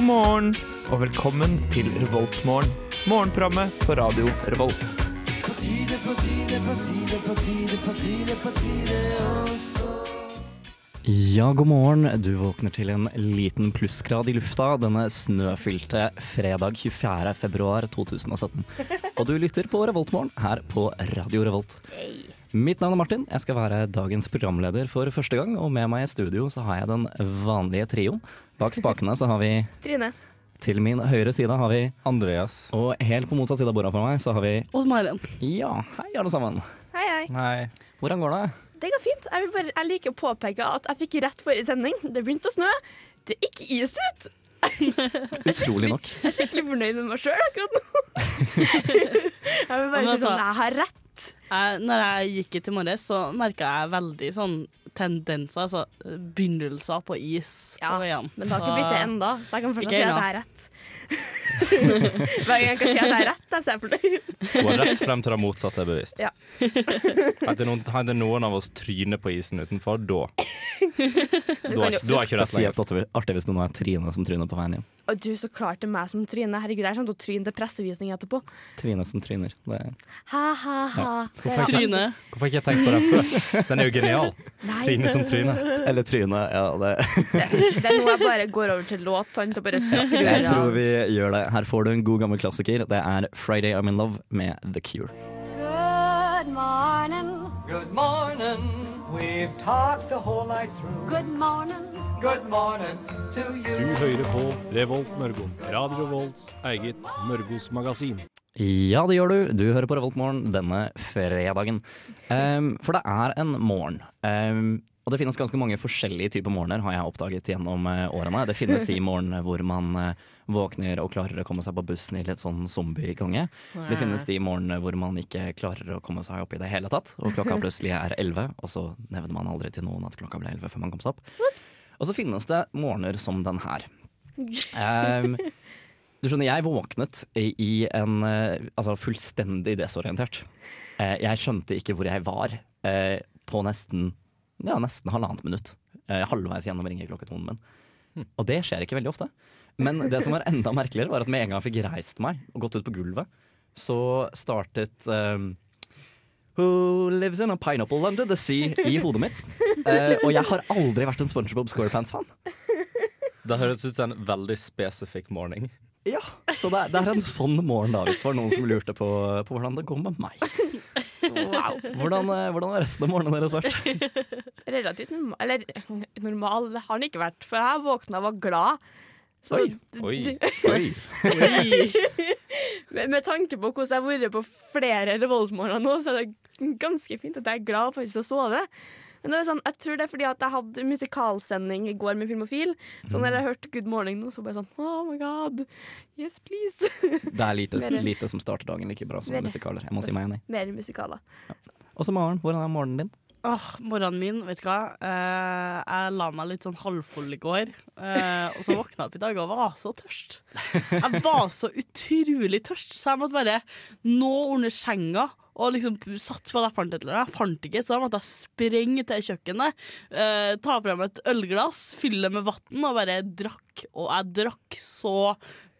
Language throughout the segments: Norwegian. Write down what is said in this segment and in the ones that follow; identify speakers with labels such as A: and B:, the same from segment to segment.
A: morgen og velkommen til Revoltmorgen. Morgenprogrammet på radio Revolt.
B: Ja, god morgen. Du våkner til en liten plussgrad i lufta denne snøfylte fredag 24. februar 2017. Og du lytter på Revoltmorgen her på Radio Revolt. Mitt navn er Martin. Jeg skal være dagens programleder for første gang, og med meg i studio så har jeg den vanlige trioen. Bak spakene så har vi
C: Trine.
B: til min høyre side har vi
D: Andreas.
B: Og helt på motsatt side av bordet for meg så har vi
E: Og Maren.
B: Ja, hei alle sammen.
C: Hei, hei.
D: Nei.
B: Hvordan går det?
C: Det går fint. Jeg, vil bare, jeg liker å påpeke at jeg fikk rett forrige sending. Det begynte å snø. Det gikk is ut.
B: Utrolig nok.
C: Jeg er skikkelig fornøyd med meg sjøl akkurat nå. Jeg vil bare
E: Men
C: si
E: altså-
C: sånn, jeg har rett.
E: Jeg, når jeg gikk hit i morges, så merka jeg veldig sånn tendenser, altså begynnelser på is
C: Ja,
E: på veiene.
C: Men det har
E: Så-
C: ikke blitt det ennå, så jeg kan fortsatt
E: Ikke
C: si at jeg
E: ennå.
C: har rett. Hver gang jeg kan si at jeg har rett, jeg er fornøyd.
D: Du var rett frem til det motsatte er bevisst.
C: Ja.
D: Hadde noen, hadde noen av oss trynet på isen utenfor, da
C: Du,
D: Da
C: kan
D: er
C: jo,
D: du er ikke rett lenger.
B: Spesielt artig hvis det nå er Trine som tryner på veien hjem.
C: og du, så klart det er meg som tryner. Herregud, jeg kommer til å tryne til pressevisning etterpå.
B: Trine som tryner. Det er
C: Ha, ha, ha. Det er rart.
E: Tryne.
D: Hvorfor har jeg ikke tenkt på den før? Den er jo genial.
C: Nei,
D: Trine som tryne.
B: Eller trynet. Ja, det.
C: Det er noe jeg bare går over til låt, sant, og bare skrur
B: Jeg
C: av.
B: tror vi gjør det. Her får du en god gammel klassiker. Det er 'Friday I'm In Love' med The Cure.
F: Good morning.
G: Good morning. We've talked the whole night through.
F: Good morning.
G: Good morning to you.
H: Du hører på Revolt Mørgo. Radio Revolts eget Mørgos magasin.
B: Ja, det gjør du. Du hører på Revoltmorgen denne fredagen. Ehm, for det er en morgen. Ehm, og det finnes ganske mange forskjellige typer morgener, har jeg oppdaget gjennom eh, årene. Det finnes de morgenene hvor man eh, våkner og klarer å komme seg på bussen i litt sånn zombiekonge. Det finnes de morgenene hvor man ikke klarer å komme seg opp i det hele tatt, og klokka plutselig er elleve, og så nevner man aldri til noen at klokka ble elleve før man kom seg opp. Og så finnes det morgener som den her. Ehm, du skjønner, jeg våknet i i en eh, Altså fullstendig desorientert. Eh, Jeg skjønte ikke hvor jeg var eh, på nesten Ja, nesten halvannet minutt. Eh, Halvveis gjennom ringeklokketonen min. Og det skjer ikke veldig ofte. Men det som var enda merkeligere, var at med en gang jeg fikk reist meg og gått ut på gulvet, så startet eh, Who lives in a pineapple under the sea i hodet mitt. Eh, og jeg har aldri vært en SpongeBob SquarePants-fan.
D: Det høres ut som en veldig spesifikk morgen.
B: Ja, så det er, det er en sånn morgen da, hvis det var noen som lurte på, på hvordan det går med meg.
C: Wow.
B: Hvordan, eh, hvordan har resten av morgenen deres vært?
C: Relativt normal, eller normal har den ikke vært, for jeg våkna og var glad. Så,
B: Oi.
D: Oi.
B: Oi.
C: med, med tanke på hvordan jeg har vært på flere revoltmorgener nå, så er det ganske fint at jeg er glad for ikke å sove. Men det er jo sånn, jeg tror det er fordi at jeg hadde musikalsending i går med Filmofil, så når jeg hørte Good Morning nå, så bare sånn Oh my god, yes please.
B: Det er lite,
C: Mere.
B: lite som starter dagen like bra som
C: Mere.
B: musikaler. Jeg må si meg enig.
C: Mer musikaler.
B: Og så Maren, hvordan er morgenen din?
E: Åh, morgenen min, vet du hva. Eh, jeg la meg litt sånn halvfull i går, eh, og så våkna jeg opp i dag og var så tørst. Jeg var så utrolig tørst, så jeg måtte bare nå under senga. Og liksom satt på det jeg fant et eller annet. Jeg fant ikke, så da måtte jeg sprenge til kjøkkenet. Eh, ta frem et ølglass, fylle det med vann og bare drakk. Og jeg drakk så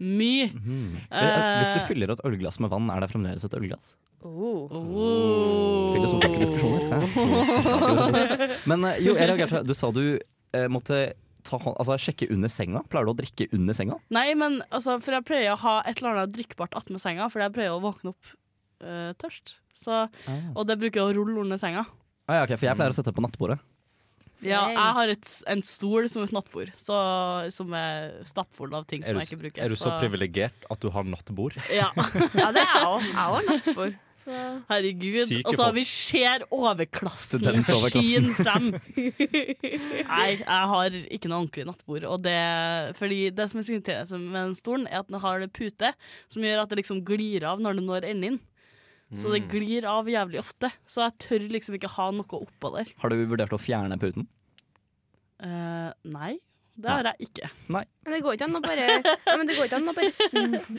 E: mye. Eh.
B: Hvis du fyller et ølglass med vann, er det fremdeles et ølglass?
E: Oh.
B: Filosofiske diskusjoner. Hæ? Men eh, jo, jeg reagerte. Du sa du eh, måtte ta, hånd- altså, sjekke under senga. Pleier du å drikke under senga?
E: Nei, men altså, for jeg pleier å ha et eller annet drikkbart attmed senga, for jeg pleier å våkne opp eh, tørst. Så,
D: Ah.
E: og det bruker jeg å rulle under senga.
B: Ah, ja, ok, for jeg pleier å sette på nattbordet.
E: Ja, jeg har et, s- en stol som et nattbord, så, som er stappfull av ting
D: Er
E: som
D: du,
E: jeg ikke bruker.
D: er du så privilegert at du har nattbord?
E: Ja,
C: Ja, det er jeg òg. Jeg har nattbord. Så-
E: herregud.
D: Syke
E: Og så
D: folk.
E: vi ser overklassen
B: Studentoverklassen.
E: skine frem. Nei, jeg har ikke noe ordentlig nattbord. Og det, fordi det som er så irriterende med den stolen, er at den har pute som gjør at det liksom glir av når det når enden inn. Så det glir av jævlig ofte. Så jeg tør liksom ikke ha noe oppå der.
B: Har du vurdert å fjerne puten?
E: Eh, nei, det har jeg ikke.
C: Men det går ikke an å bare, ja, men det går ikke an å bare snu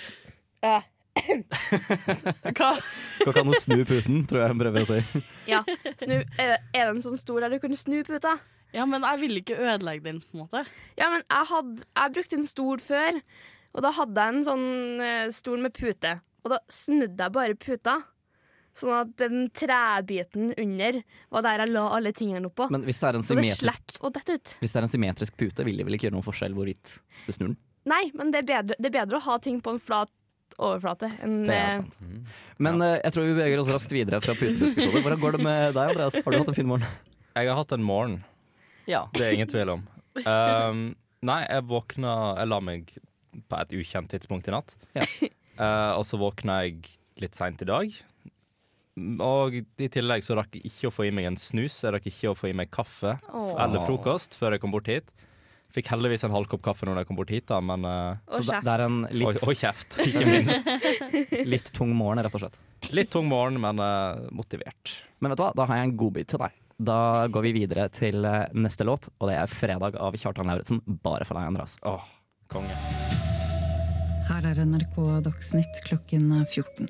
E: Hva?
B: Går ikke an å snu puten, tror jeg hun prøver å si.
C: eh, Ja, snu. Er, det- er det en sånn stol der du kan snu puta?
E: Ja, men jeg ville ikke ødelegge den, på en måte.
C: Ja, men jeg, hadde, jeg brukte en stol før, og da hadde jeg en sånn eh, stol med pute. Og da snudde jeg bare puta, sånn at den trebiten under var der jeg la alle tingene oppå.
B: Men hvis det er en
C: Så det
B: symmetrisk,
C: slapp å dette ut.
B: hvis det er en symmetrisk pute, vil det vel ikke gjøre noen forskjell hvorvidt du snur den?
C: Nei, men det er bedre, det er bedre å ha ting på en flat overflate enn
B: Det er
C: eh,
B: sant. Men eh, jeg tror vi beveger oss raskt videre fra putediskusjoner. Hvordan går det med deg, Andreas? Har du hatt en fin morgen?
D: Jeg har hatt en morgen,
B: Ja.
D: det er ingen tvil om. Ehm, nei, jeg våkna Jeg la meg på et ukjent tidspunkt i natt.
B: Ja.
D: Eh, og så våkna jeg litt seint i dag. Og i tillegg så rakk jeg ikke å få i meg en snus. Jeg rakk ikke å få i meg kaffe
C: Åh.
D: eller frokost før jeg kom bort hit. Fikk heldigvis en halv kopp kaffe når jeg kom bort hit, da, men eh,
B: Så
C: og
B: det,
C: kjeft.
B: det er en
D: og,
B: litt,
D: og kjeft, ikke minst.
B: litt tung morgen, rett og slett.
D: Litt tung morgen, men eh, motivert.
B: Men vet du hva, da har jeg en godbit til deg. Da går vi videre til eh, neste låt, og det er 'Fredag' av Kjartan Lauritzen. Bare for deg, Andreas.
D: Åh, konge.
I: Her er NRK Dagsnytt klokken 14.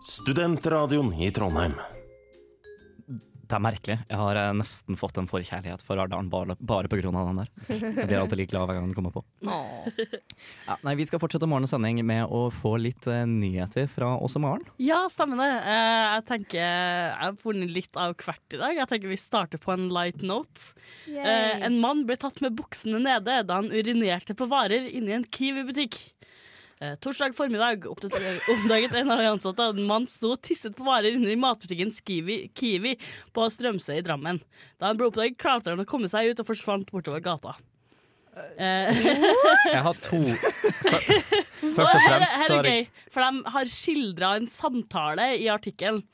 J: studentradioen i Trondheim.
B: Det er merkelig. Jeg har eh, nesten fått en forkjærlighet for Ardalen bare, bare pga. den der. Jeg blir alltid like glad hver gang den kommer på. Ja, nei, vi skal fortsette morgens sending med å få litt eh, nyheter fra oss om morgenen.
E: Ja, stemmer det. Eh, jeg tenker Jeg har funnet litt av hvert i dag. Jeg tenker vi starter på en light note. Eh, en mann ble tatt med buksene nede da han urinerte på varer inne i en Kiwi-butikk. Eh, torsdag formiddag oppdater- oppdaget en av de ansatte at en mann sto og tisset på varer inne i matbutikken Kiwi, Kiwi på Strømsøy i Drammen. Da han ble oppdaget, klarte han å komme seg ut og forsvant bortover gata. Eh,
D: Jeg har to Først
E: Og
D: og
E: her,
D: fremst
E: her
D: så
E: er
D: har jeg
E: gøy, for de har skildra en samtale i artikkelen.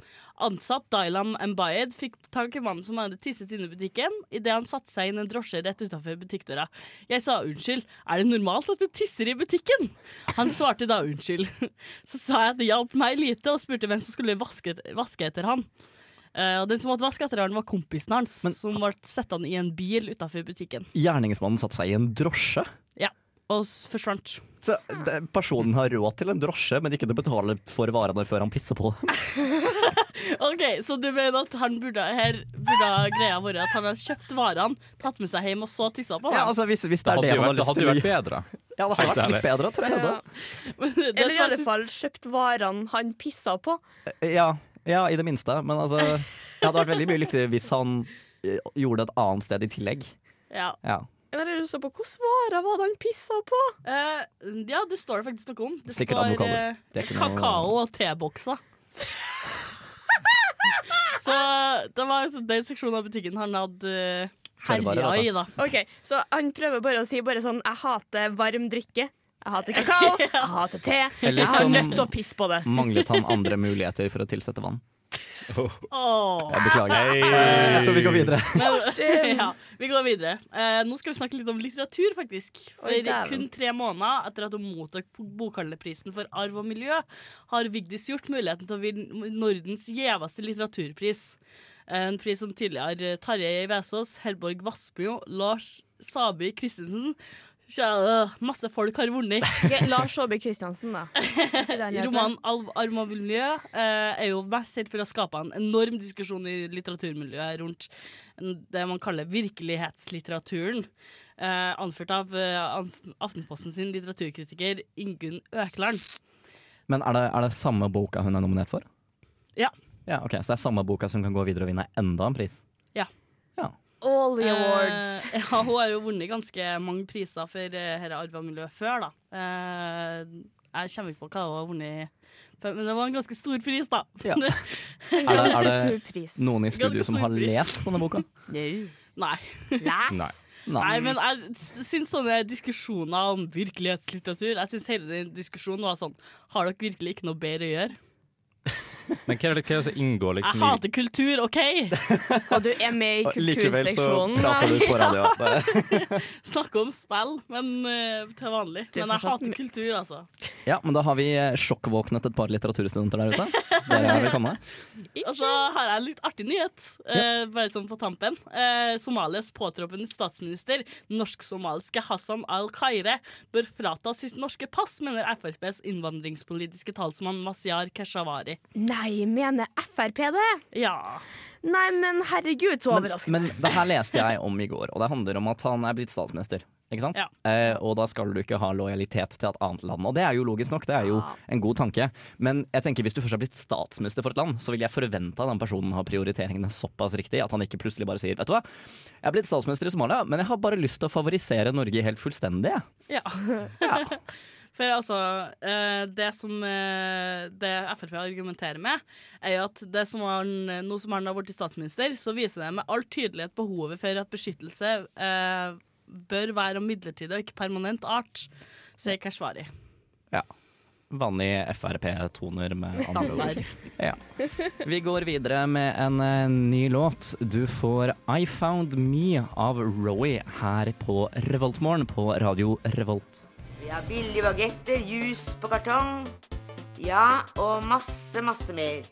E: Ansatt Dailam Mbayed fikk tak i mannen som hadde tisset inne i butikken idet han satte seg inn en drosje rett utenfor butikkdøra. Jeg sa unnskyld, er det normalt at du tisser i butikken? Han svarte da unnskyld. Så sa jeg at det hjalp meg lite, og spurte hvem som skulle vaske, vaske etter han. Eh, og den som måtte vaske etter han, var kompisen hans, som ble sittende i en bil utenfor butikken.
B: Gjerningsmannen satte seg i en drosje.
E: Ja, og s- forsvant.
B: Så det- personen har råd til en drosje, men ikke til å betale for varene før han pisser på dem.
E: Ok, Så du mener at han burde, her burde ha greia vært at han har kjøpt varene, tatt med seg hjem og så tissa på
B: Ja,
E: dem?
B: altså, hvis, hvis det er
D: Det hadde
B: det
D: jo
B: han har
D: vært, det
B: lyst
D: hadde
B: til
D: jo
B: å
D: vært
B: gjøre.
D: bedre.
B: Ja, det hadde vært litt bedre, tror jeg.
C: Ja.
E: Det
C: Eller i alle
E: svares-
C: fall kjøpt varene han pissa på.
B: Ja. Ja, ja, i det minste. Men altså, det hadde vært veldig mye lykkeligere hvis han eh, gjorde det et annet sted i tillegg.
E: ja.
B: Ja.
C: Eller jeg lurer på hvilke varer var det han pissa på?
E: Eh, ja, det står det faktisk noe om. Det
B: Sikkert
E: står
B: avokadoer.
E: eh,
B: Det er ikke noe-
E: kakao og tebokser. så det var altså den seksjonen av butikken han hadde eh,
B: Tørrvarer,
E: herja
B: altså.
E: i, da.
C: Ok, Så han prøver bare å si bare sånn Jeg hater varm drikke. Jeg hater kakao. Jeg hater te.
B: Eller
C: Jeg har
B: som-
C: nødt til å pisse på det.
B: Manglet han andre muligheter for å tilsette vann?
E: Åh.
B: Jeg beklager. Eh, Jeg tror vi går videre.
E: Men, ja, vi går videre. Eh, nå skal vi snakke litt om litteratur, faktisk. For
C: Oi, dæven.
E: kun tre måneder etter at hun mottok bokhandlerprisen for arv og miljø, har Vigdis gjort muligheten til å vinne Nordens gjeveste litteraturpris. En pris som tidligere Tarjei Vesaas, Herborg Vassbjo, Lars Saby Christensen kjære, Masse folk har vunnet.
C: Ok, Lars Saabye Christiansen, da.
E: Romanen 'Alv, arm og miljø' eh, er jo mest kjent for å skape en enorm diskusjon i litteraturmiljøet rundt det man kaller virkelighetslitteraturen. Eh, anført av eh, Anf- Aftenposten sin litteraturkritiker Ingunn Økland.
B: Men er det, er det samme boka hun er nominert for?
E: Ja.
B: Ja, ok, Så det er samme boka som kan gå videre og vinne enda en pris?
E: Ja.
B: Ja.
C: All the
E: Eh,
C: awards.
E: ja, hun har jo vunnet ganske mange priser for eh, dette arv og miljø før, da. Eh, jeg kommer ikke på hva hun har vunnet, før, men det var en ganske stor pris, da.
B: Ja.
C: En
B: er det-
C: ganske
B: er
C: stor
B: det
C: pris.
B: Noen i studio
E: Ganske
B: som
E: stor
B: har
E: pris.
B: lest denne boka?
E: Nei.
D: Nei.
C: Les!
E: Nei, men jeg s- syns sånne diskusjoner om virkelighetslitteratur Jeg syns hele den diskusjonen var sånn Har dere virkelig ikke noe bedre å gjøre?
D: Men hva er det hva er det som inngår
E: Jeg
D: liksom i
E: hater kultur, OK?
C: Og du er med i
B: Likevel så
C: kulturseksjonen.
B: prater du på radio.
E: Snakker om spill men, eh, til vanlig.
C: Du er
E: Men jeg
C: fortsatt-
E: hater kultur, altså.
B: Ja, men da har vi eh, sjokkvåknet et par litteraturstudenter der ute. Dere er velkomne.
E: Og så har jeg en litt artig nyhet, eh, bare sånn på tampen. Eh, Somalias påtroppende statsminister, norsk-somaliske Hassan al-Khaire, bør fratas sitt norske pass, mener FrPs innvandringspolitiske talsmann Mazyar Keshvari.
C: Nei, mener Frp det?
E: Ja.
C: Nei, men herregud, så
B: Men,
C: overraskende.
B: men det her leste jeg om i går, og det handler om at han er blitt statsminister. Ikke sant? Eh, og da skal du ikke ha lojalitet til et annet land. Og det er jo logisk nok, det er jo en god tanke. Men jeg tenker hvis du først har blitt statsminister for et land, så vil jeg forvente at den personen har prioriteringene såpass riktig at han ikke plutselig bare sier Vet du hva, jeg er blitt statsminister i Somalia, men jeg har bare lyst til å favorisere Norge helt fullstendig, jeg.
E: Ja. For altså, eh, det som eh, det Frp argumenterer med, er jo at det som han, nå som han har blitt statsminister, så viser det med all tydelighet behovet for at beskyttelse eh, bør være av midlertidig og ikke permanent art, sier Keshvari.
B: Ja. Vanlig Frp-toner med andre
E: Standard.
B: ord. Ja. Vi går videre med en eh, ny låt. Du får I Found Me av Roy her på Revoltmorgen på Radio Revolt.
K: Vi har billige bagetter, juice på kartong. Ja, og masse, masse mer.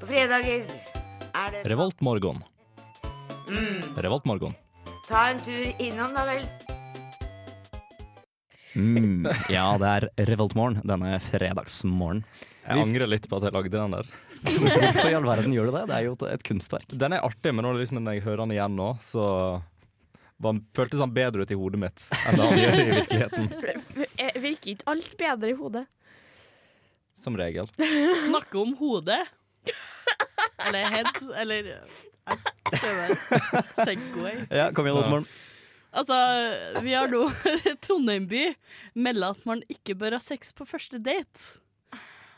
K: På fredager er det
D: Revoltmorgon?
K: Mm.
D: Revoltmorgon.
K: Ta en tur innom, da vel.
B: Mm. Ja, det er Revoltmorgen denne fredagsmorgen.
D: Jeg angrer litt på at jeg lagde den der.
B: Hvorfor i all verden gjør du det? Det er jo et- et kunstverk.
D: Den er artig, men nå er det liksom, når jeg hører den igjen nå, så den føltes den bedre ut i hodet mitt enn det han gjør i virkeligheten.
C: Eh, Virker ikke alt bedre i hodet?
D: Som regel.
E: Snakke om hodet. Eller head, eller jeg prøver. Segway.
B: Ja, kom igjen, Åsmorgen.
E: Altså, vi har nå Trondheim by melder at man ikke bør ha sex på første date.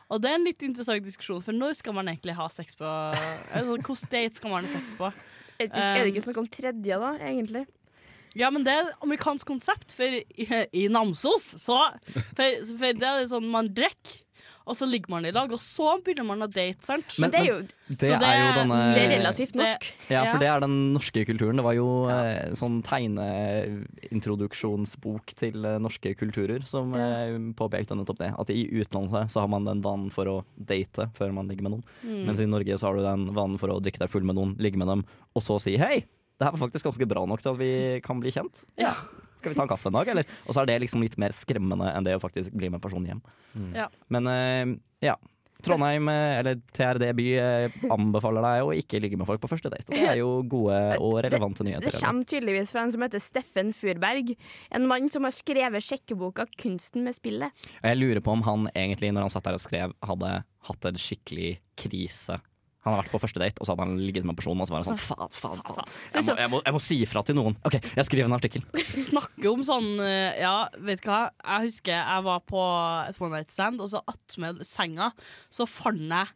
E: Og det er en litt interessant diskusjon, for når skal man egentlig ha sex på altså, Hvilken date skal man ha sex på?
C: Er det ikke- er det ikke snakk om tredje, da, egentlig?
E: Ja, men det er et amerikansk konsept, for i, i Namsos så for, for det er sånn man drikker, og så ligger man i lag, og så begynner man å date, sant?
B: Men- Men det er jo- men det er jo denne- det er relativt
E: norsk.
B: Ja, for det er den norske kulturen. Det var jo eh, sånn tegneintroduksjonsbok til eh, norske kulturer som eh, påpekte nettopp det. At i utlandet så har man den vanen for å date før man ligger med noen.
A: Mm.
B: Mens i Norge så har du den vanen for å drikke deg full med noen, ligge med dem, og så si hei! Det her var faktisk ganske bra nok til at vi kan bli kjent.
E: Ja.
B: Skal vi ta en kaffe en dag, eller? Og så er det liksom litt mer skremmende enn det å faktisk bli med en person hjem.
E: Ja.
B: Men eh, ja. Trondheim, eh, eller TRD by, eh, anbefaler deg å ikke ligge med folk på første date. Det er jo gode og relevante nyheter.
C: Det kommer tydeligvis fra en som heter Steffen Furberg. En mann som har skrevet sjekkeboka 'Kunsten med spillet'.
B: Og jeg lurer på om han egentlig, når han satt der og skrev, hadde hatt en skikkelig krise. Han har vært på første date, og så hadde han ligget med personen, og så var han sånn faen, faen, faen. Jeg må, jeg, må, jeg må si ifra til noen. OK, jeg skriver en artikkel.
E: snakke om sånn eh, Ja, vet du hva? Jeg husker jeg var på et one night stand, og så attmed senga så fant jeg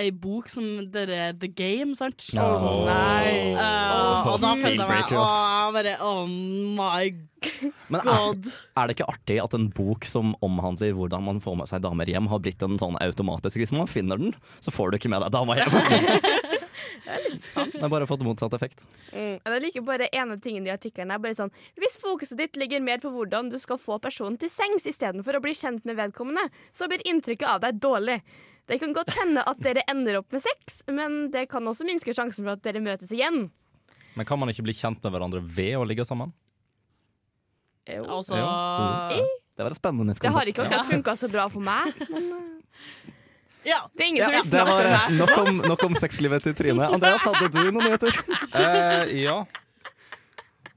E: ei bok som dere The Game, sant?
D: Åh.
E: Nei. Eh, og da
B: Åh,
E: følte jeg meg
B: dealbreaker,
E: Å,
B: ass.
E: bare Oh my
B: Men
E: god.
B: er, er det ikke artig at en bok som omhandler hvordan man får med seg damer hjem, har blitt en sånn automatisk Hvis man finner den, så får du ikke med deg dama hjem. Den har bare fått motsatt effekt.
C: Mm. Jeg liker bare ene tingen i artikkelen. er Bare sånn, Hvis fokuset ditt ligger mer på hvordan du skal få personen til sengs istedenfor å bli kjent med vedkommende, så blir inntrykket av deg dårlig. Det kan godt hende at dere ender opp med sex, men det kan også minske sjansen for at dere møtes igjen.
D: Men kan man ikke bli kjent med hverandre ved å ligge sammen?
E: Altså
D: Ja.
B: Det var et spennende nytt
C: Det har
B: konsept.
C: ikke akkurat funka så bra for meg, men eh,
E: ja.
C: Det er ingen som
B: Ja,
C: vil
B: det
C: snakke
B: var
C: med
B: eh,
C: meg.
B: nok om, nok om sexlivet til Trine. Andreas, hadde du noen nyheter?
D: Eh, ja.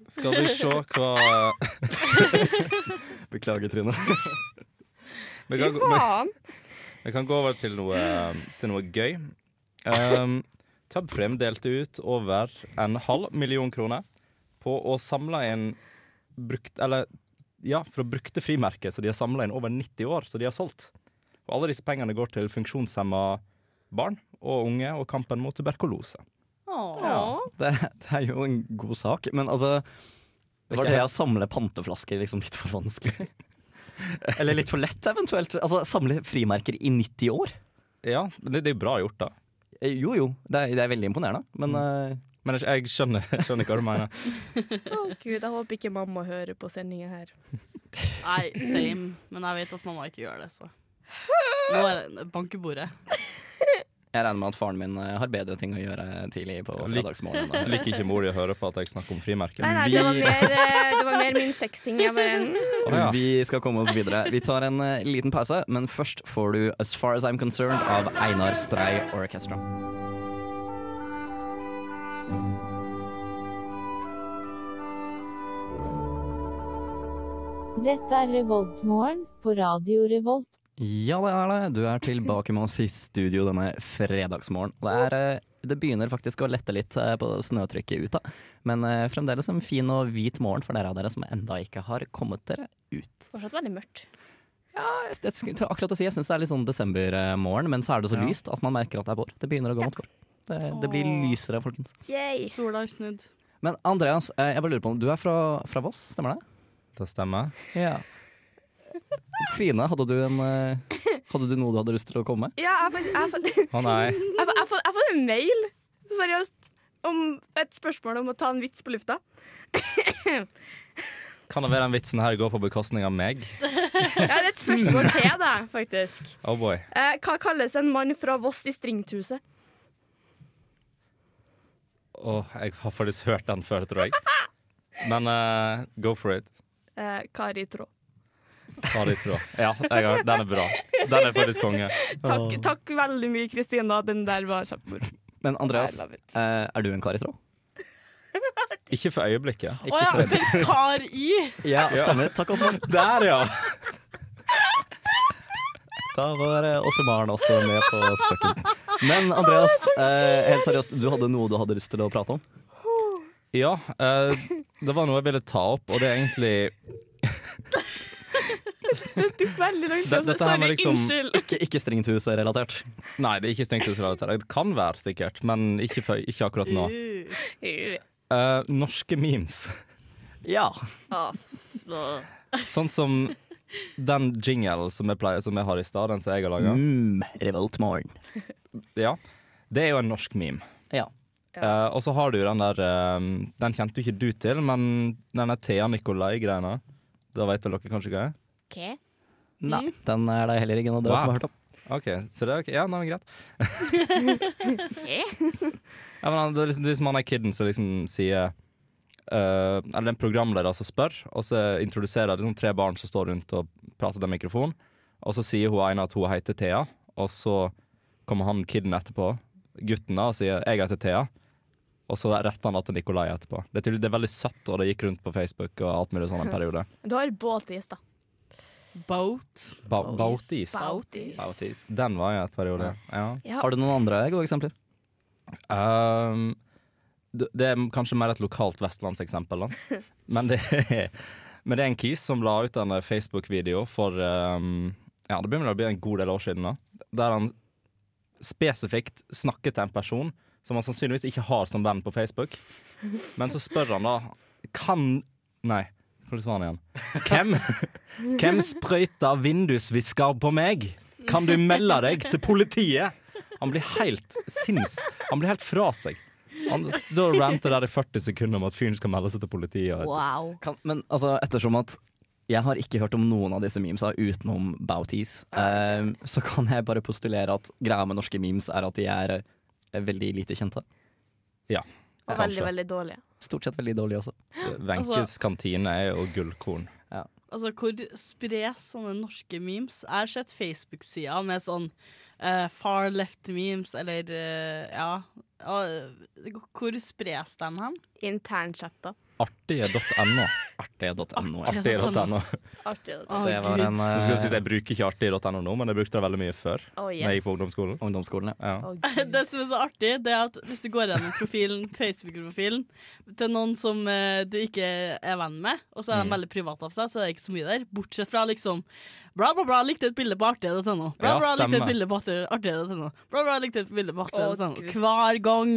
D: Skal vi se hva
B: Beklager, Trine.
D: Vi kan, gå-
C: Fy faen.
D: vi kan gå over til noe, til noe gøy. Um, Tubframe delte ut over en halv million kroner på å samle inn brukt, eller, ja, fra brukte frimerker som de har samla inn over 90 år, som de har solgt. Og alle disse pengene går til funksjonshemma barn og unge og kampen mot tuberkulose.
B: Ja, det, det er jo en god sak, men altså Var det å samle panteflasker liksom litt for vanskelig? Eller litt for lett, eventuelt? Altså, Samle frimerker i 90 år?
D: Ja, men det, det er jo bra gjort, da.
B: Eh, Jo jo, det er, det er veldig imponerende, men eh,
D: Men jeg, jeg skjønner, jeg skjønner hva du mener.
C: Å gud, jeg håper ikke mamma hører på sendinga her.
E: Nei, same. Men jeg vet at mamma ikke gjør det, så. Nå er det bank i bordet.
B: Jeg regner med at faren min eh, har bedre ting å gjøre tidlig på
D: Lik-
B: fredagsmorgenen.
D: Liker ikke mor di å høre på at jeg snakker om frimerker.
C: Nei, nei, det var mer, eh, det var mer min sexting. Jeg bare mm.
B: Vi skal komme oss videre. Vi tar en eh, liten pause, men først får du As Far As I'm Concerned av Einar Strei Orchestra.
L: Dette er Revoltmorgen på Radio Revolt.
B: Ja, det er det. Du er tilbake med oss i studio denne fredagsmorgen. Det, er, eh, det begynner faktisk å lette litt eh, på snøtrykket ute, men eh, fremdeles en fin og hvit morgen for dere av dere som enda ikke har kommet dere ut.
C: Fortsatt veldig mørkt.
B: Jeg, jeg skulle til akkurat å si, jeg syns det er litt sånn desembermorgen, men så er det så lyst at man merker at det er vår. Det begynner å gå mot vår. Det, det blir lysere, folkens.
E: Sola har snudd.
B: Men Andreas, eh, jeg bare lurer på om du er fra, fra Voss, stemmer det?
D: Det stemmer.
B: Ja. Trine, hadde du, en, eh, hadde du noe du hadde lyst til å komme med?
C: Ja, jeg har fått- jeg har fått- jeg
D: Å nei.
C: har fått- jeg har fått en mail, seriøst, om et spørsmål om å ta en vits på lufta.
D: Kan det være den vitsen her går på bekostning av meg?
C: Ja, det er et spørsmål til deg, faktisk.
D: Oh boy.
C: Eh, hva kalles en mann fra Voss i Stringthuset?
D: Åh, jeg har faktisk hørt den før, tror jeg. Men eh, go for it.
C: Eh, Kari Trå.
D: Ta det i tråd. Ja, jeg har, den er bra. Den er faktisk konge.
C: Takk, takk veldig mye, Kristina. Den der var kjempemoro.
B: Men Andreas, eh, er du en kar i tråd?
D: Ikke for øyeblikket.
E: Å ja, men kar i!
B: Ja, stemmer. Takk, Åsmund.
D: Der, ja.
B: Da var eh, Åse Maren også med på spøken. Men Andreas, eh, helt seriøst, du hadde noe du hadde lyst til å prate om?
D: Ja, eh, det var noe jeg ville ta opp, og det er egentlig
C: Det tok veldig lang tid.
D: Dette her
C: Sorry,
D: med liksom-
C: unnskyld.
B: Ikke, ikke Stringthuset-relatert?
D: Nei, det er ikke stengtelsesrelatert. Det kan være, sikkert, men ikke, for, ikke akkurat nå. Eh, norske memes.
B: Ja.
D: Sånn som den jingle som jeg, pleier, som jeg har i stad, den som jeg har laga.
B: Mm, Revoltmorgen.
D: Ja. Det er jo en norsk meme.
B: Ja.
D: Eh, og så har du den der eh, Den kjente jo ikke du til, men den der Thea Nikolai-greia. Da vet dere kanskje hva det er?
B: Nei,
E: Mm.
B: den er det heller ikke noen av dere
D: Wow.
B: som har hørt om.
D: OK, så det er ok. Ja, nei, men greit. Ja, men han- det, er liksom, det er liksom han er kiden som liksom sier eh, Eller det er en programleder som spør, og så introduserer liksom tre barn som står rundt og prater til en mikrofon. Og så sier hun ene at hun heter Thea, og så kommer han kiden etterpå, gutten da, og sier 'jeg heter Thea'. Og så retter han da til Nikolai etterpå. Det er, tydelig, det er veldig søtt, og det gikk rundt på Facebook og alt mulig sånn en periode.
C: Du har båtis, da.
E: Boat.
D: Ba Bautis.
C: Bautis.
D: Bautis. Den var jeg et periode, ja.
C: Ja.
B: Har du noen andre gode eksempler?
D: Um, det det er kanskje mer et lokalt vestlandseksempel, da. Men det, er- men det er en kis som la ut en eh, Facebook-video for um, Ja, det begynner å bli en god del år siden, da. Der han spesifikt snakket til en person som han sannsynligvis ikke har som venn på Facebook. Men så spør han da Kan Nei, hvordan var han igjen? Hvem, hvem sprøyta vindusvisker på meg? Kan du melde deg til politiet? Han blir helt sinns... Han blir helt fra seg. Han står og ranter der i 40 sekunder om at fyren skal melde seg til politiet. og-
B: Kan, men altså, ettersom at jeg har ikke hørt om noen av disse memesa utenom Bautis, eh, så kan jeg bare postulere at greia med norske memes er at de er eh, veldig lite kjente.
D: Ja.
C: Og veldig, veldig dårlig.
B: Stort sett veldig dårlige også.
D: Wenches
E: Altså-
D: kantine er jo gullkorn.
E: Altså, hvor spres sånne norske memes? Jeg har sett Facebook-sida med sånn eh, far left memes, eller eh, ja. Og, eh, hvor spres de hen?
C: Internchatta.
D: Artige.no.
B: Artige.no,
D: ja. Artige.no.
C: Artig.
E: Å,
B: Det var
E: Gud.
B: en eh,
D: Jeg skal si at jeg bruker ikke artig.no nå, men jeg brukte det veldig mye før.
C: Oh,
D: Når jeg
C: yes.
D: gikk på ungdomsskolen.
B: ungdomsskolen. ja.
D: Ja.
E: Det som er så artig, det er at hvis du går gjennom profilen, Facebook-profilen til noen som eh, du ikke er venn med, og så er de
D: Mm.
E: veldig private av seg, så er det ikke så mye der. Bortsett fra liksom bla, bla, bla, likte et bilde på artig.no. Bla,
D: Ja,
E: bla, likte
D: stemmer.
E: et bilde på artig- artig.no. Bla, bla, likte et bilde på
C: Å,
E: artig.no.
C: Gud.
E: Hver gang.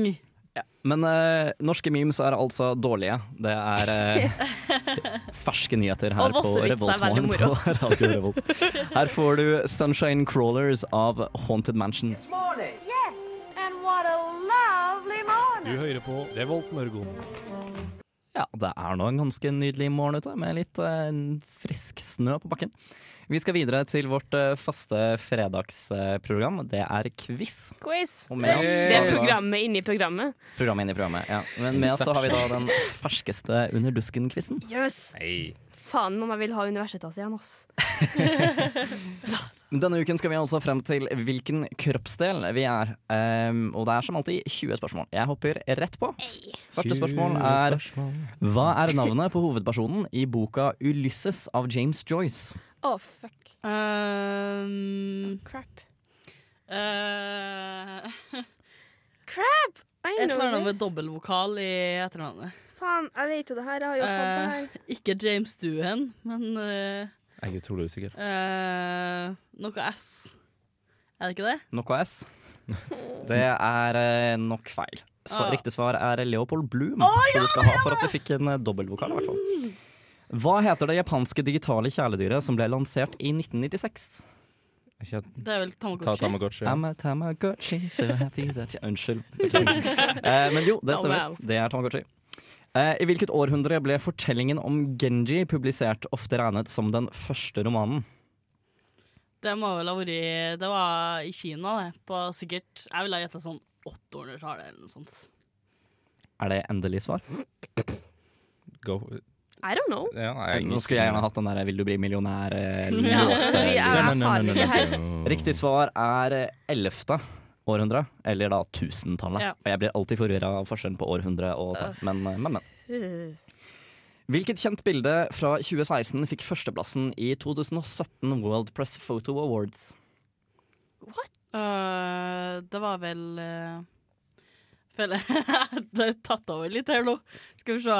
B: Men eh, norske memes er altså dårlige. Det er eh, ferske nyheter her
E: Og
B: på
E: Vossevits er veldig
B: Revoltmorgen på
E: moro.
B: Radio Revolt. Her får du Sunshine Crawlers av Haunted Mansion.
G: Morning. Yes, and what a lovely morning.
H: Du hører på Revolt Mørgon.
B: Ja, det er nå en ganske nydelig morgen ute, med litt eh, frisk snø på bakken. Vi skal videre til vårt eh, faste fredagsprogram. Det er quiz.
C: Quiz.
B: Og med oss
C: Det
B: har
C: er
B: vi da-
C: programmet inni programmet.
B: Programmet inn i programmet, ja. Men med oss så har vi da den ferskeste Under dusken-quizen.
C: Yes. Faen om jeg vil ha Universitas igjen, ass.
B: Denne uken skal vi altså frem til hvilken kroppsdel vi er. Ehm, og det er som alltid 20 spørsmål. Jeg hopper rett på. Første spørsmål er Hva er navnet på hovedpersonen i boka 'Ulysses' av James Joyce?
C: Å, fuck.
E: Um,
C: crap.
E: crap!
C: I
E: Et eller
C: know
E: annet med
C: this.
E: dobbeltvokal i etternavnet.
C: Faen, jeg vet jo det her. Jeg har jo hatt det her.
E: Eh, ikke James Doohan, men eh,
D: Jeg er utrolig usikker.
E: eh, noe S. Er det ikke det?
B: Noe S. Det er eh, nok feil. Sva-
E: Ah.
B: Riktig svar er Leopold Bloom,
E: Å,
B: som du skal ha for at du fikk en eh, dobbeltvokal. i hvert fall. Hva heter det japanske digitale kjæledyret som ble lansert i 1996?
E: Det er vel Tamagotchi?
B: Ta Tamagotchi. I'm a Tamagotchi, so happy that you Unnskyld. beklager. Eh, men jo, det
E: Oh,
B: stemmer.
E: wow.
B: Det er Tamagotchi. Eh, I hvilket århundre ble fortellingen om Genji publisert, ofte regnet som den første romanen?
E: Det må vel ha vært i- Det var i Kina, det. På sikkert Jeg ville ha gjetta sånn 800-tallet eller noe sånt.
B: Er det endelig svar?
C: Eh, I don't know.
D: Ja,
B: Nå skulle jeg gjerne hatt den der 'vil du bli millionær'? eh,
C: Ja.
B: låse-
C: Vi er erfarne her.
B: Riktig svar er eh, ellevte århundre, eller da tusentallet.
C: Ja.
B: Og jeg blir alltid forvirra av forskjellen på århundre og tall, men, eh, men, men. Hvilket kjent bilde fra 2016 fikk førsteplassen i 2017 World Press Photo Awards?
E: Eh, det var vel eh, Føler jeg Det er tatt over litt her nå. Skal vi se.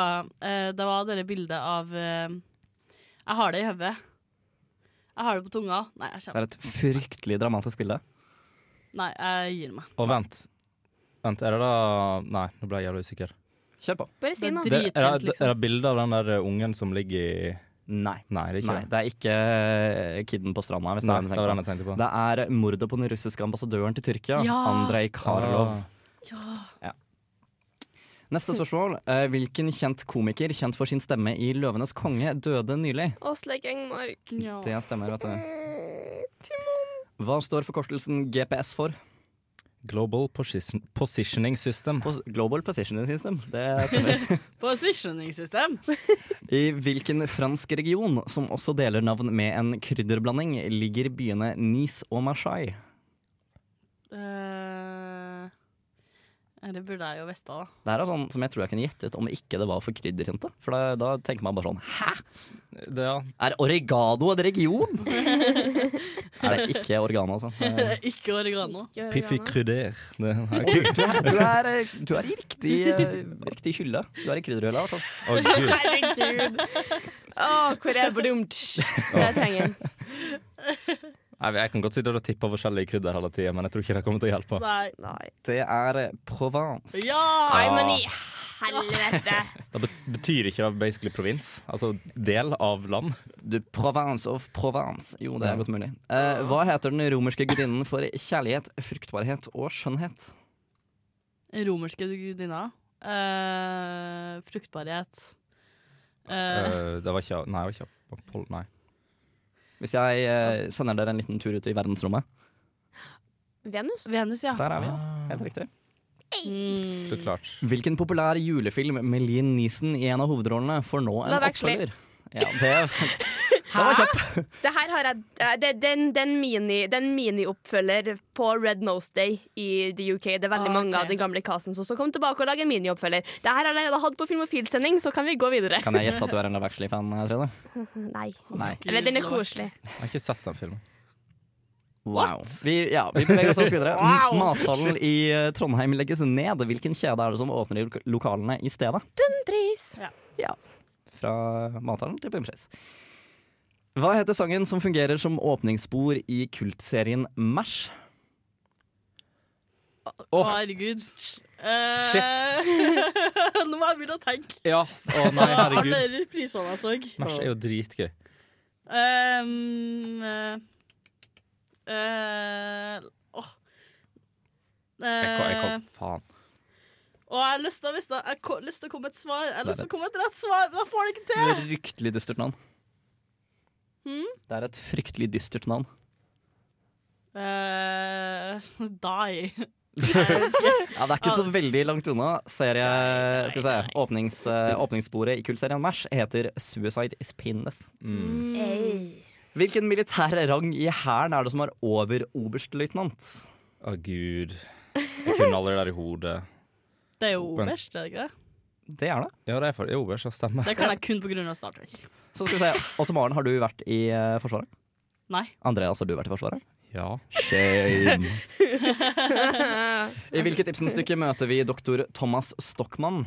E: Eh, det var det bildet av eh, Jeg har det i hodet. Jeg har det på tunga. Nei, jeg
B: Det er
E: kommer.
B: et fryktelig dramatisk bilde.
E: Nei, jeg gir meg.
D: Og vent. Vent, er det da Nei, nå ble jeg jævlig usikker.
B: Kjør på.
C: Bare si noe.
D: Det, er, det, er det bilde av den der eh, ungen som ligger i
B: Nei.
D: Nei, det er ikke
B: Nei,
D: det.
B: det er ikke eh, Kidden på stranda. Hvis
D: Nei,
B: det,
D: det var
B: er
D: den jeg tenkte på.
B: det er mordet på den russiske ambassadøren til Tyrkia,
E: Ja,
B: Andrej Karlov.
D: Ah.
B: Neste spørsmål. Eh, Hvilken kjent komiker, kjent for sin stemme i 'Løvenes konge', døde nylig?
C: Åsleik Engmark.
B: Det stemmer, vet du.
C: Eh,
B: Hva står forkortelsen GPS for?
D: Global Position Positioning System.
B: Global Positioning System. Det stemmer.
E: Positioning system.
B: I hvilken fransk region, som også deler navn med en krydderblanding, ligger byene Nice og Marseille?
E: Eh, det burde jeg jo visst, da.
B: Det her er sånn som jeg tror jeg kunne gjettet om ikke det var for krydderjente. For da, da tenker man bare sånn Hæ? Er oregano en region? er det ikke oregano, altså? Det er-
E: Ikke oregano.
D: Piffi Krydder. Det er
B: Du,
D: kult.
B: du er, du, er, eh, du er i riktig, eh, riktig hylle. Du er i krydderhylla, i hvert fall.
D: Å, Gud.
C: Herregud. Å, hvor er brumt? Det trenger jeg.
D: Nei, Jeg kan godt sitte og tippe forskjellige krydder hele tida, men jeg tror ikke det kommer til å hjelpe.
E: Nei.
B: Det er eh, Provence.
C: Nei, men i
D: Ja.
C: helvete.
D: Det bet- betyr ikke det basically provins? Altså del av land?
B: Du, Provence of Provence. Jo, det er godt mulig. Eh, hva heter den romerske gudinnen for kjærlighet, fruktbarhet og skjønnhet?
E: Romerske gudinna. Eh, fruktbarhet. Eh,
D: Eh, det var ikke Nei, det var ikke Apoll- Nei.
B: Hvis jeg eh, sender dere en liten tur ut i verdensrommet.
C: Venus?
E: Venus, ja.
B: Der er vi, ja. Helt riktig.
D: Så klart.
B: Hvilken populær julefilm med Lien Nisen i en av hovedrollene får nå en
C: Love Actually.
B: oppfølger? Ja, det, det var kjapt.
C: Det her har jeg eh, det, Den, den mini- den mini-oppfølger på Red Nose Day i the UK. Det er veldig
E: Ah,
C: mange av
E: ok.
C: den gamle casten som også kom tilbake og lager en mini-oppfølger. Det her har jeg allerede hatt på Filmofil-sending, så kan vi gå videre.
B: Kan jeg gjette at du er en Love Actually-fan, eh, Trine?
C: Nei.
B: Nei.
C: Eller den er koselig.
D: Jeg har ikke sett den filmen.
B: Wow. Vi, ja, vi beveger oss videre.
C: Wow.
B: Mathallen i eh, Trondheim legges ned. Hvilken kjede er det som åpner i lok- lokalene i stedet?
C: Bunnpris.
B: Ja. Fra Mathallen til Bunnpris. Hva heter sangen som fungerer som åpningsspor i kultserien Mash?
E: Å, herregud. Shit. Nå må jeg begynne å tenke.
D: Ja. Å nei, herregud.
E: Alle de prisene altså. jeg så.
D: Nach er jo dritgøy.
E: Um, eh, eh, åh.
D: Jeg kan, jeg
E: Eh,
D: kan faen.
E: Og jeg har lyst til å vite- jeg har lyst til å komme med et svar. Jeg har lyst
B: Nei,
E: til å komme med et rett svar, men jeg får det ikke til.
B: Fryktelig dystert navn.
E: Hmm?
B: Det er et fryktelig dystert navn.
E: Eh, die.
B: Ja, det er ikke så veldig langt unna. Serie, skal vi se, åpnings, eh, åpningssporet i kultserien Mash heter Suicide is Painless. Hvilken militær rang i hæren er det som er over oberstløytnant?
D: Å, gud. Jeg kunne aldri det der i hodet.
E: Det er jo
D: Men-
E: oberst, er det ikke det?
B: Det er det.
D: Ja, det er for det er oberst, ja, stemmer.
E: Det kan jeg kun på grunn av Star Trek.
B: Så skal vi se. Også Maren, har du vært i eh, Forsvaret?
E: Nei.
B: Andreas, har du vært i Forsvaret?
D: Ja.
B: Shame.
E: Eh,
B: I hvilket Ibsen-stykke møter vi doktor Thomas Stockmann?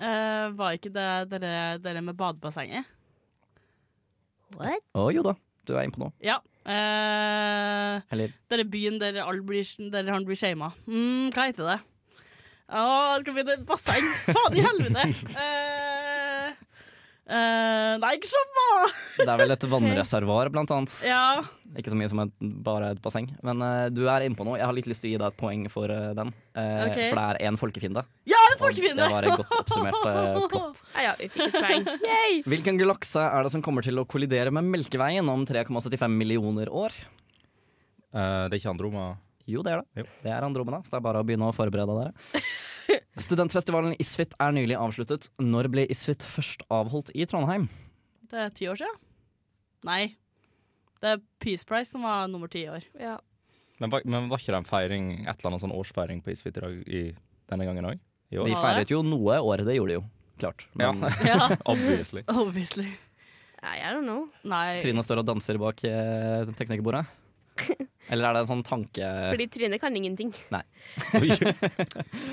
E: Eh, var ikke det dere, dere med badebassenget? What?
B: Å jo da, du er innpå nå.
E: Ja. eh,
B: Eller
E: dere byen der, alle blir, der han blir shama. Mm, hva heter det? Å, det skal bli et basseng! Faen i helvete! Eh, eh, nei, ikke sjamma!
B: det er vel et vannreservoar, blant annet.
E: Ja.
B: Ikke så mye som et, bare et basseng. Men eh, du er innpå noe. Jeg har litt lyst til å gi deg et poeng for eh, den. Eh,
E: Ok.
B: For det er én folkefiende.
E: Ja, en folkefiende!
B: Det var et godt oppsummert eh, plott.
C: Ja, ja, vi fikk et poeng. Yay!
B: Hvilken galakse er det som kommer til å kollidere med Melkeveien om 3,75 millioner år?
D: Eh, det er ikke Androma?
B: Jo, det er det. Det er Andromeda, så det er bare å begynne å forberede dere. Studentfestivalen ISFIT er nylig avsluttet. Når ble ISFIT først avholdt i Trondheim?
E: Det er ti år siden. Nei. Det er Peace Price som var nummer ti i år.
C: Ja.
D: Men, var- men var ikke det en feiring, et eller annet sånn årsfeiring på Isfit i dag i, denne gangen òg?
B: De feiret jo noe året, det gjorde de jo. Klart. Men eh,
E: Ja.
D: Obviously.
E: Obviously.
C: Nei, I don't know.
E: Nei.
B: Trine står og danser bak eh, teknikerbordet. Eller er det en sånn tanke...
C: Fordi Trine kan ingenting.
B: Nei.
E: Det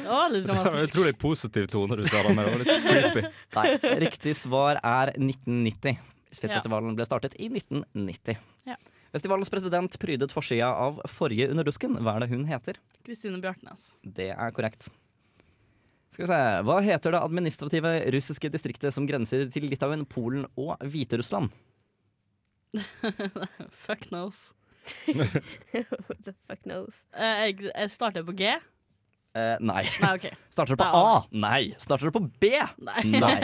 E: var litt dramatisk.
D: Utrolig positiv tone du sa da, men det var litt creepy.
B: Nei, riktig svar er 1990. Spillfestivalen ble startet i 1990.
E: Ja.
B: Festivalens president prydet forsida av forrige Underdusken. Hva er det hun heter?
E: Kristine Bjartnes.
B: Det er korrekt. Skal vi se, Hva heter det administrative russiske distriktet som grenser til Litauen, Polen og Hviterussland?
E: Fuck knows.
C: What the fuck knows?
E: Eh, jeg, jeg starter på G.
B: Eh, nei.
E: Nei, ok.
B: Starter det på
E: Da-
B: A? Nei. Starter det på B?
E: Nei.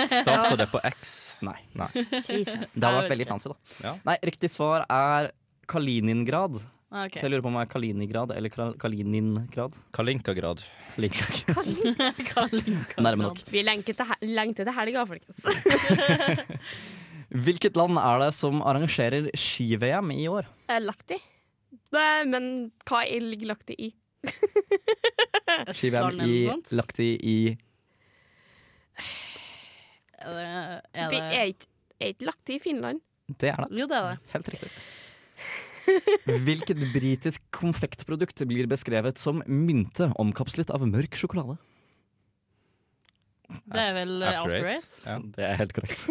D: Starter det på X?
B: Nei.
D: Nei.
E: Jesus.
B: Det hadde vært veldig fancy, da.
D: Ja.
B: Nei, riktig svar er Kaliningrad.
E: Ah, ok.
B: Så jeg lurer på om det er Kaliningrad eller Kra- Kaliningrad.
D: Kalinkagrad.
B: Kalinkagrad. Nærme nok.
C: Vi lengter til, he- lengter til helga, folkens.
B: Hvilket land er det som arrangerer ski-VM i år?
C: Jeg er Lagt i. Nei, Men hva er ligger lagt i i?
B: Ski-VM i lagt i i
E: Er det- er
C: Vi
E: det-
C: er ikke- er ikke lagt i i Finland.
B: Det er det.
E: Jo, det er det.
B: Helt riktig. Hvilket britisk konfektprodukt blir beskrevet som mynte omkapslet av mørk sjokolade?
E: Det er vel eh, After Eight.
B: Det er helt korrekt.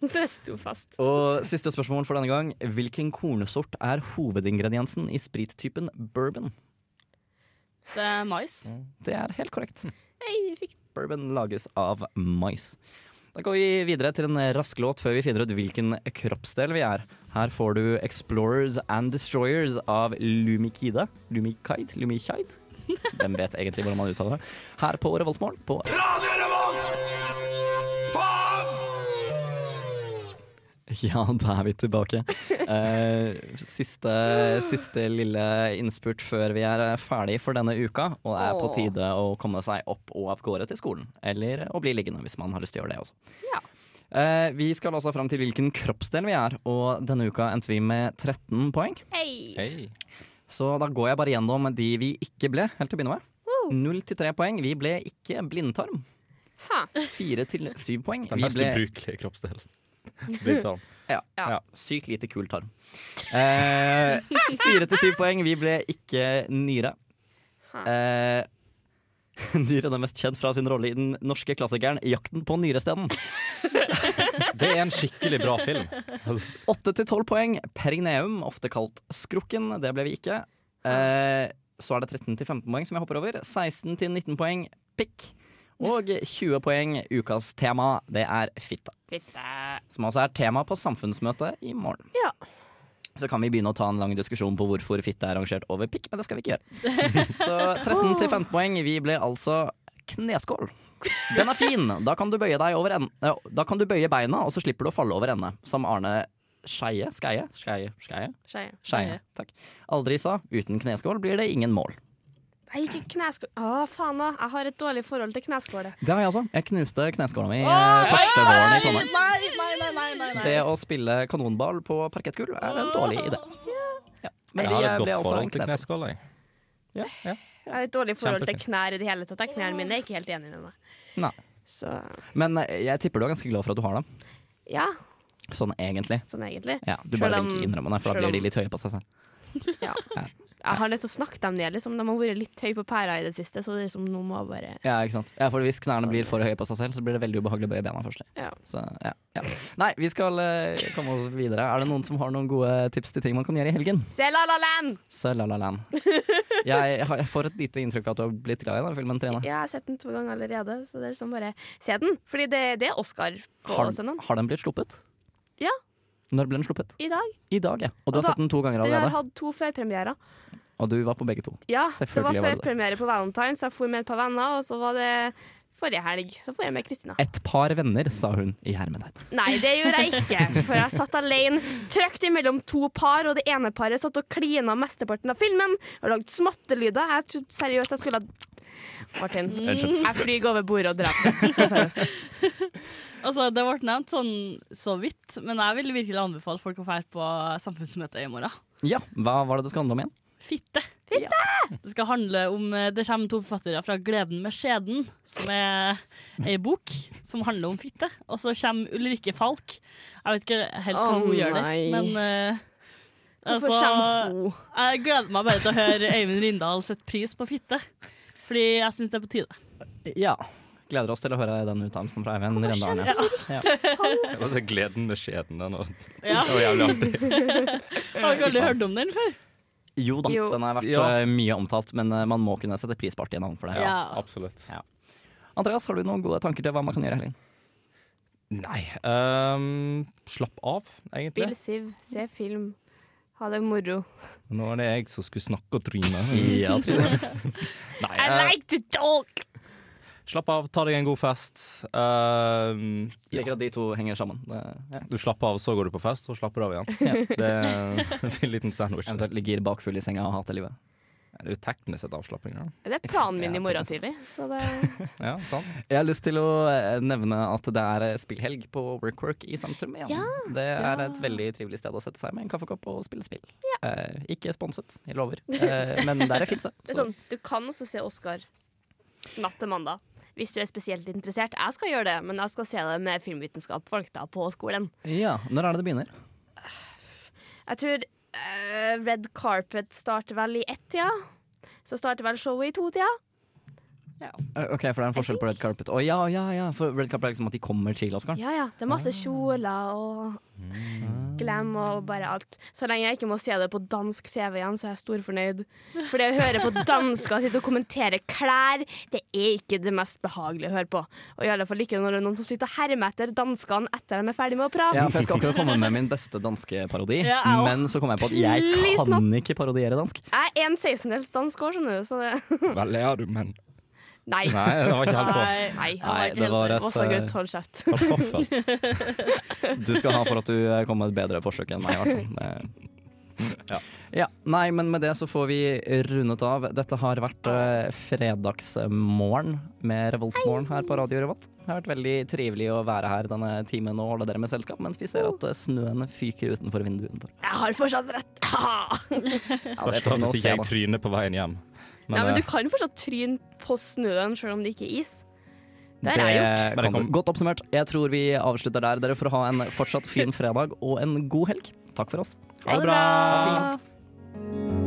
C: Det sto fast.
B: Og siste spørsmål for denne gang. Hvilken kornsort er hovedingrediensen i sprittypen bourbon?
E: Det er mais.
B: Det er helt korrekt.
C: Hei, jeg fikk
B: Bourbon lages av mais. Da går vi videre til en rask låt før vi finner ut hvilken kroppsdel vi er. Her får du Explorers and Destroyers av Lumikide. Lumikide? Lumikide? Hvem vet egentlig hvordan man uttaler det? Her på Revoltmorgen på Ja, da er vi tilbake. Eh, siste, siste lille innspurt før vi er ferdig for denne uka. Og det er på
M: Åh.
B: tide å komme seg opp og av gårde til skolen. Eller å bli liggende, hvis man har lyst til å gjøre det også. Eh, vi skal også fram til hvilken kroppsdel vi er, og denne uka endte vi med 13 poeng.
C: Hei!
B: Så da går jeg bare gjennom de vi ikke ble, helt til å begynne med. Null til tre poeng. Vi ble ikke blindtarm. Fire til syv poeng.
D: Den
B: Vi
D: mest
B: ble-
D: ubrukelige kroppsdelen. Blindtarm.
B: Ja.
D: Ja.
B: ja. Sykt lite kul tarm. Eh, fire til syv poeng. Vi ble ikke nyre. Eh, Nyren er mest kjent fra sin rolle i den norske klassikeren 'Jakten på nyrestenen'.
D: Det er en skikkelig bra film.
B: Åtte til tolv poeng. Perineum, ofte kalt skrukken. Det ble vi ikke. Eh, Så er det 13 til 15 poeng som jeg hopper over. 16 til 19 poeng pikk. Og 20 poeng ukas tema, det er fitta. Som altså er tema på samfunnsmøtet i morgen.
C: Ja.
B: Så kan vi begynne å ta en lang diskusjon på hvorfor fitte er rangert over pikk, men det skal vi ikke gjøre. Så 13 til 15 poeng, vi ble altså kneskål. Den er fin! Da kan du bøye, deg over en, eh, da kan du bøye beina, og så slipper du å falle over ende. Som Arne Skeie Skeie? Skeie? Skeie?
C: Skeie.
B: Skeie. Takk. Aldri sa uten kneskål blir det ingen mål.
C: Nei, ikke kneskål Å, faen òg. Jeg har et dårlig forhold til kneskålet.
B: Det har jeg også. Jeg knuste kneskåla mi eh, første våren i Trondheim.
C: Nei, nei, nei, nei, nei,
B: Det å spille kanonball på parkettgulv er en dårlig idé. Ja.
D: Jeg
B: Men vi,
D: har et
B: eh, ble
D: godt
B: altså
D: forhold
B: en
D: til
B: kneskål.
D: kneskål, jeg.
C: Jeg har et dårlig forhold til
B: Kjempefint.
C: knær i det hele tatt. Jeg- Knærne mine er ikke helt enig med meg.
B: Nei.
C: Så
B: Men eh, jeg tipper du er ganske glad for at du har dem.
C: ja,
B: Sånn egentlig.
C: sånn egentlig.
B: Ja, du
C: Selv
B: bare
C: om-
B: vil ikke innrømme det, for da
C: selv
B: blir
C: om-
B: de litt høye på seg selv.
C: Ja. Jeg har nødt til å snakke dem ned. Liksom. De har vært litt høye på pæra i det siste, så det er liksom, nå må jeg bare
B: Ja, ikke sant? Ja, for Hvis knærne blir for høye på seg selv, så blir det veldig ubehagelig å bøye bena først.
C: Ja.
B: Så, ja, ja. Nei, vi skal eh, komme oss videre. Er det noen som har noen gode tips til ting man kan gjøre i helgen?
C: Se La La Land!
B: Så la la land. Jeg, har- jeg får et lite inntrykk av at du har blitt glad i den filmen, Trine.
C: Ja, jeg har sett den to ganger allerede, så det er liksom bare se den. Fordi det, det er Oscar på
B: Har,
C: søndag.
B: har den blitt sluppet?
C: Ja,
B: Når ble den sluppet?
C: i dag.
B: I dag, ja. Og du
C: Altså,
B: har sett den to ganger
C: Den har
B: allerede?
C: hatt to førpremierer.
B: Og du var på begge to?
C: Ja, det var
B: Selvfølgelig var du det.
C: førpremiere på Valentine's, jeg for med et par venner, og så var det forrige helg. Så får jeg med Kristina.
B: Et par venner, sa hun i hermetegn.
C: Nei, det gjorde jeg ikke, for jeg satt alene trykt imellom to par, og det ene paret satt og klina mesteparten av filmen og lagde smattelyder. Jeg trodde seriøst jeg skulle ha Martin,
E: Unnskyld.
C: jeg flyr over bordet og dreper deg. Så seriøst.
E: Altså, det ble nevnt sånn så vidt, men jeg vil virkelig anbefale folk å dra på samfunnsmøtet i morgen.
B: Ja, hva var det det skal handle om igjen?
E: Fitte! Det skal handle om eh, Det kommer to forfattere fra 'Gleden med skjeden', som er ei bok som handler om fitte. Og så kommer Ulrikke Falk. Jeg vet ikke helt hva
C: Å,
E: hun gjør der,
C: nei.
E: men eh, Altså,
C: Hvorfor kommer hun?
E: Jeg gleder meg bare til å høre Øyvind Rindal sette pris på fitte. Fordi jeg syns det er på tide.
B: Ja. Gleder oss til å høre den uttalelsen fra Eivind Rendalen.
E: skjønner jeg
B: Ja.
D: Det var så gleden med skjeden. Den var,
E: Ja.
D: det var jævlig artig.
E: Har dere aldri hørt om den før?
B: Jo da,
E: Jo.
B: den har vært
E: Ja.
B: eh, mye omtalt, men eh, man må kunne sette pris på artige navn for det.
E: Ja, Ja.
D: absolutt.
B: Andreas, har du noen gode tanker til hva man kan gjøre i helgen?
D: Nei. ehm, slapp av, egentlig.
C: Spill Siv, se film. Ha det moro.
D: Nå er det jeg som skulle snakke og Trine.
B: Ja, Trine.
D: Nei,
C: I
D: eh,
C: like to talk!
D: slapp av, ta deg en god fest. Ehm,
B: Jeg liker at de to henger sammen. Det,
D: Du slapper av, så går du på fest, så slapper du av igjen. Det er en liten sandwich.
B: Eventuelt ligger bakfull i senga og hater livet.
D: Det er jo teknisk sett avslapping. da.
C: Det er planen min i morgen tidlig, så det
D: Ja, sant.
B: Jeg har lyst til å eh, nevne at det er eh, spillhelg på Workwork i sentrum igjen.
C: Ja.
B: Det er
C: Ja.
B: et veldig trivelig sted å sette seg med en kaffekopp og spille spill. Eh, ikke sponset, jeg lover. Eh, men der er fins det.
C: Det er sånn, du kan også se Oscar natt til mandag. Hvis du er spesielt interessert. Jeg skal gjøre det, men jeg skal se det med filmvitenskapsfolk da, på skolen.
B: Ja, Når er det det begynner?
C: Jeg tror eh, Red Carpet starter vel i ett-tida. Så starter vel showet i to-tida.
B: Eh, Ok, For det er en forskjell på red carpet. Å ja, ja, ja, for red carpet er liksom at de kommer til Oscaren.
C: Ja, ja. Det er
B: Ah.
C: masse kjoler og
B: Mm.
C: glam og bare alt. Så lenge jeg ikke må se det på dansk TV igjen, så er jeg storfornøyd. For det å høre på dansker sitte og kommentere klær, det er ikke det mest behagelige å høre på. Og i alle fall ikke når det er noen som sitter og hermer etter danskene etter de er ferdig med å prate.
B: Ja, for Jeg skal akkurat komme med min beste danske parodi,
C: Ja, jeg også.
B: men så kom jeg på at jeg
C: Please
B: kan ikke parodiere dansk.
C: Jeg er en 16-dels dansk òg, skjønner du, så det
D: Vel, ja, du, men
C: Nei.
D: Nei, det var ikke helt på.
C: Nei, Nei, det var
B: Nei,
C: ikke
B: det var eh,
C: helt
B: et,
C: på. Vossagutt, hold kjeft.
B: Du skal ha for at du eh, kom med et bedre forsøk enn meg. i hvert fall. Det- Ja, nei, men med det så får vi rundet av. Dette har vært eh, fredagsmorgen med Revoltmorgen her på Radio Revolt. Det har vært veldig trivelig å være her denne timen og holde dere med selskap, mens vi ser at eh, snøen fyker utenfor vinduet utenfor.
C: Jeg har fortsatt rett.
B: Ja, det får
D: Spørs da
B: vi nå
D: hvis
B: se,
D: ikke
B: da.
D: jeg tryner på veien hjem.
C: Nei, men
D: eh,
C: du kan fortsatt tryne på snøen selv om det ikke er is. Det har jeg gjort.
B: Det kan du. Godt oppsummert. Jeg tror vi avslutter der. Dere får ha en fortsatt fin fredag og en god helg. Takk for oss.
C: Ha det bra.
B: Ha det fint.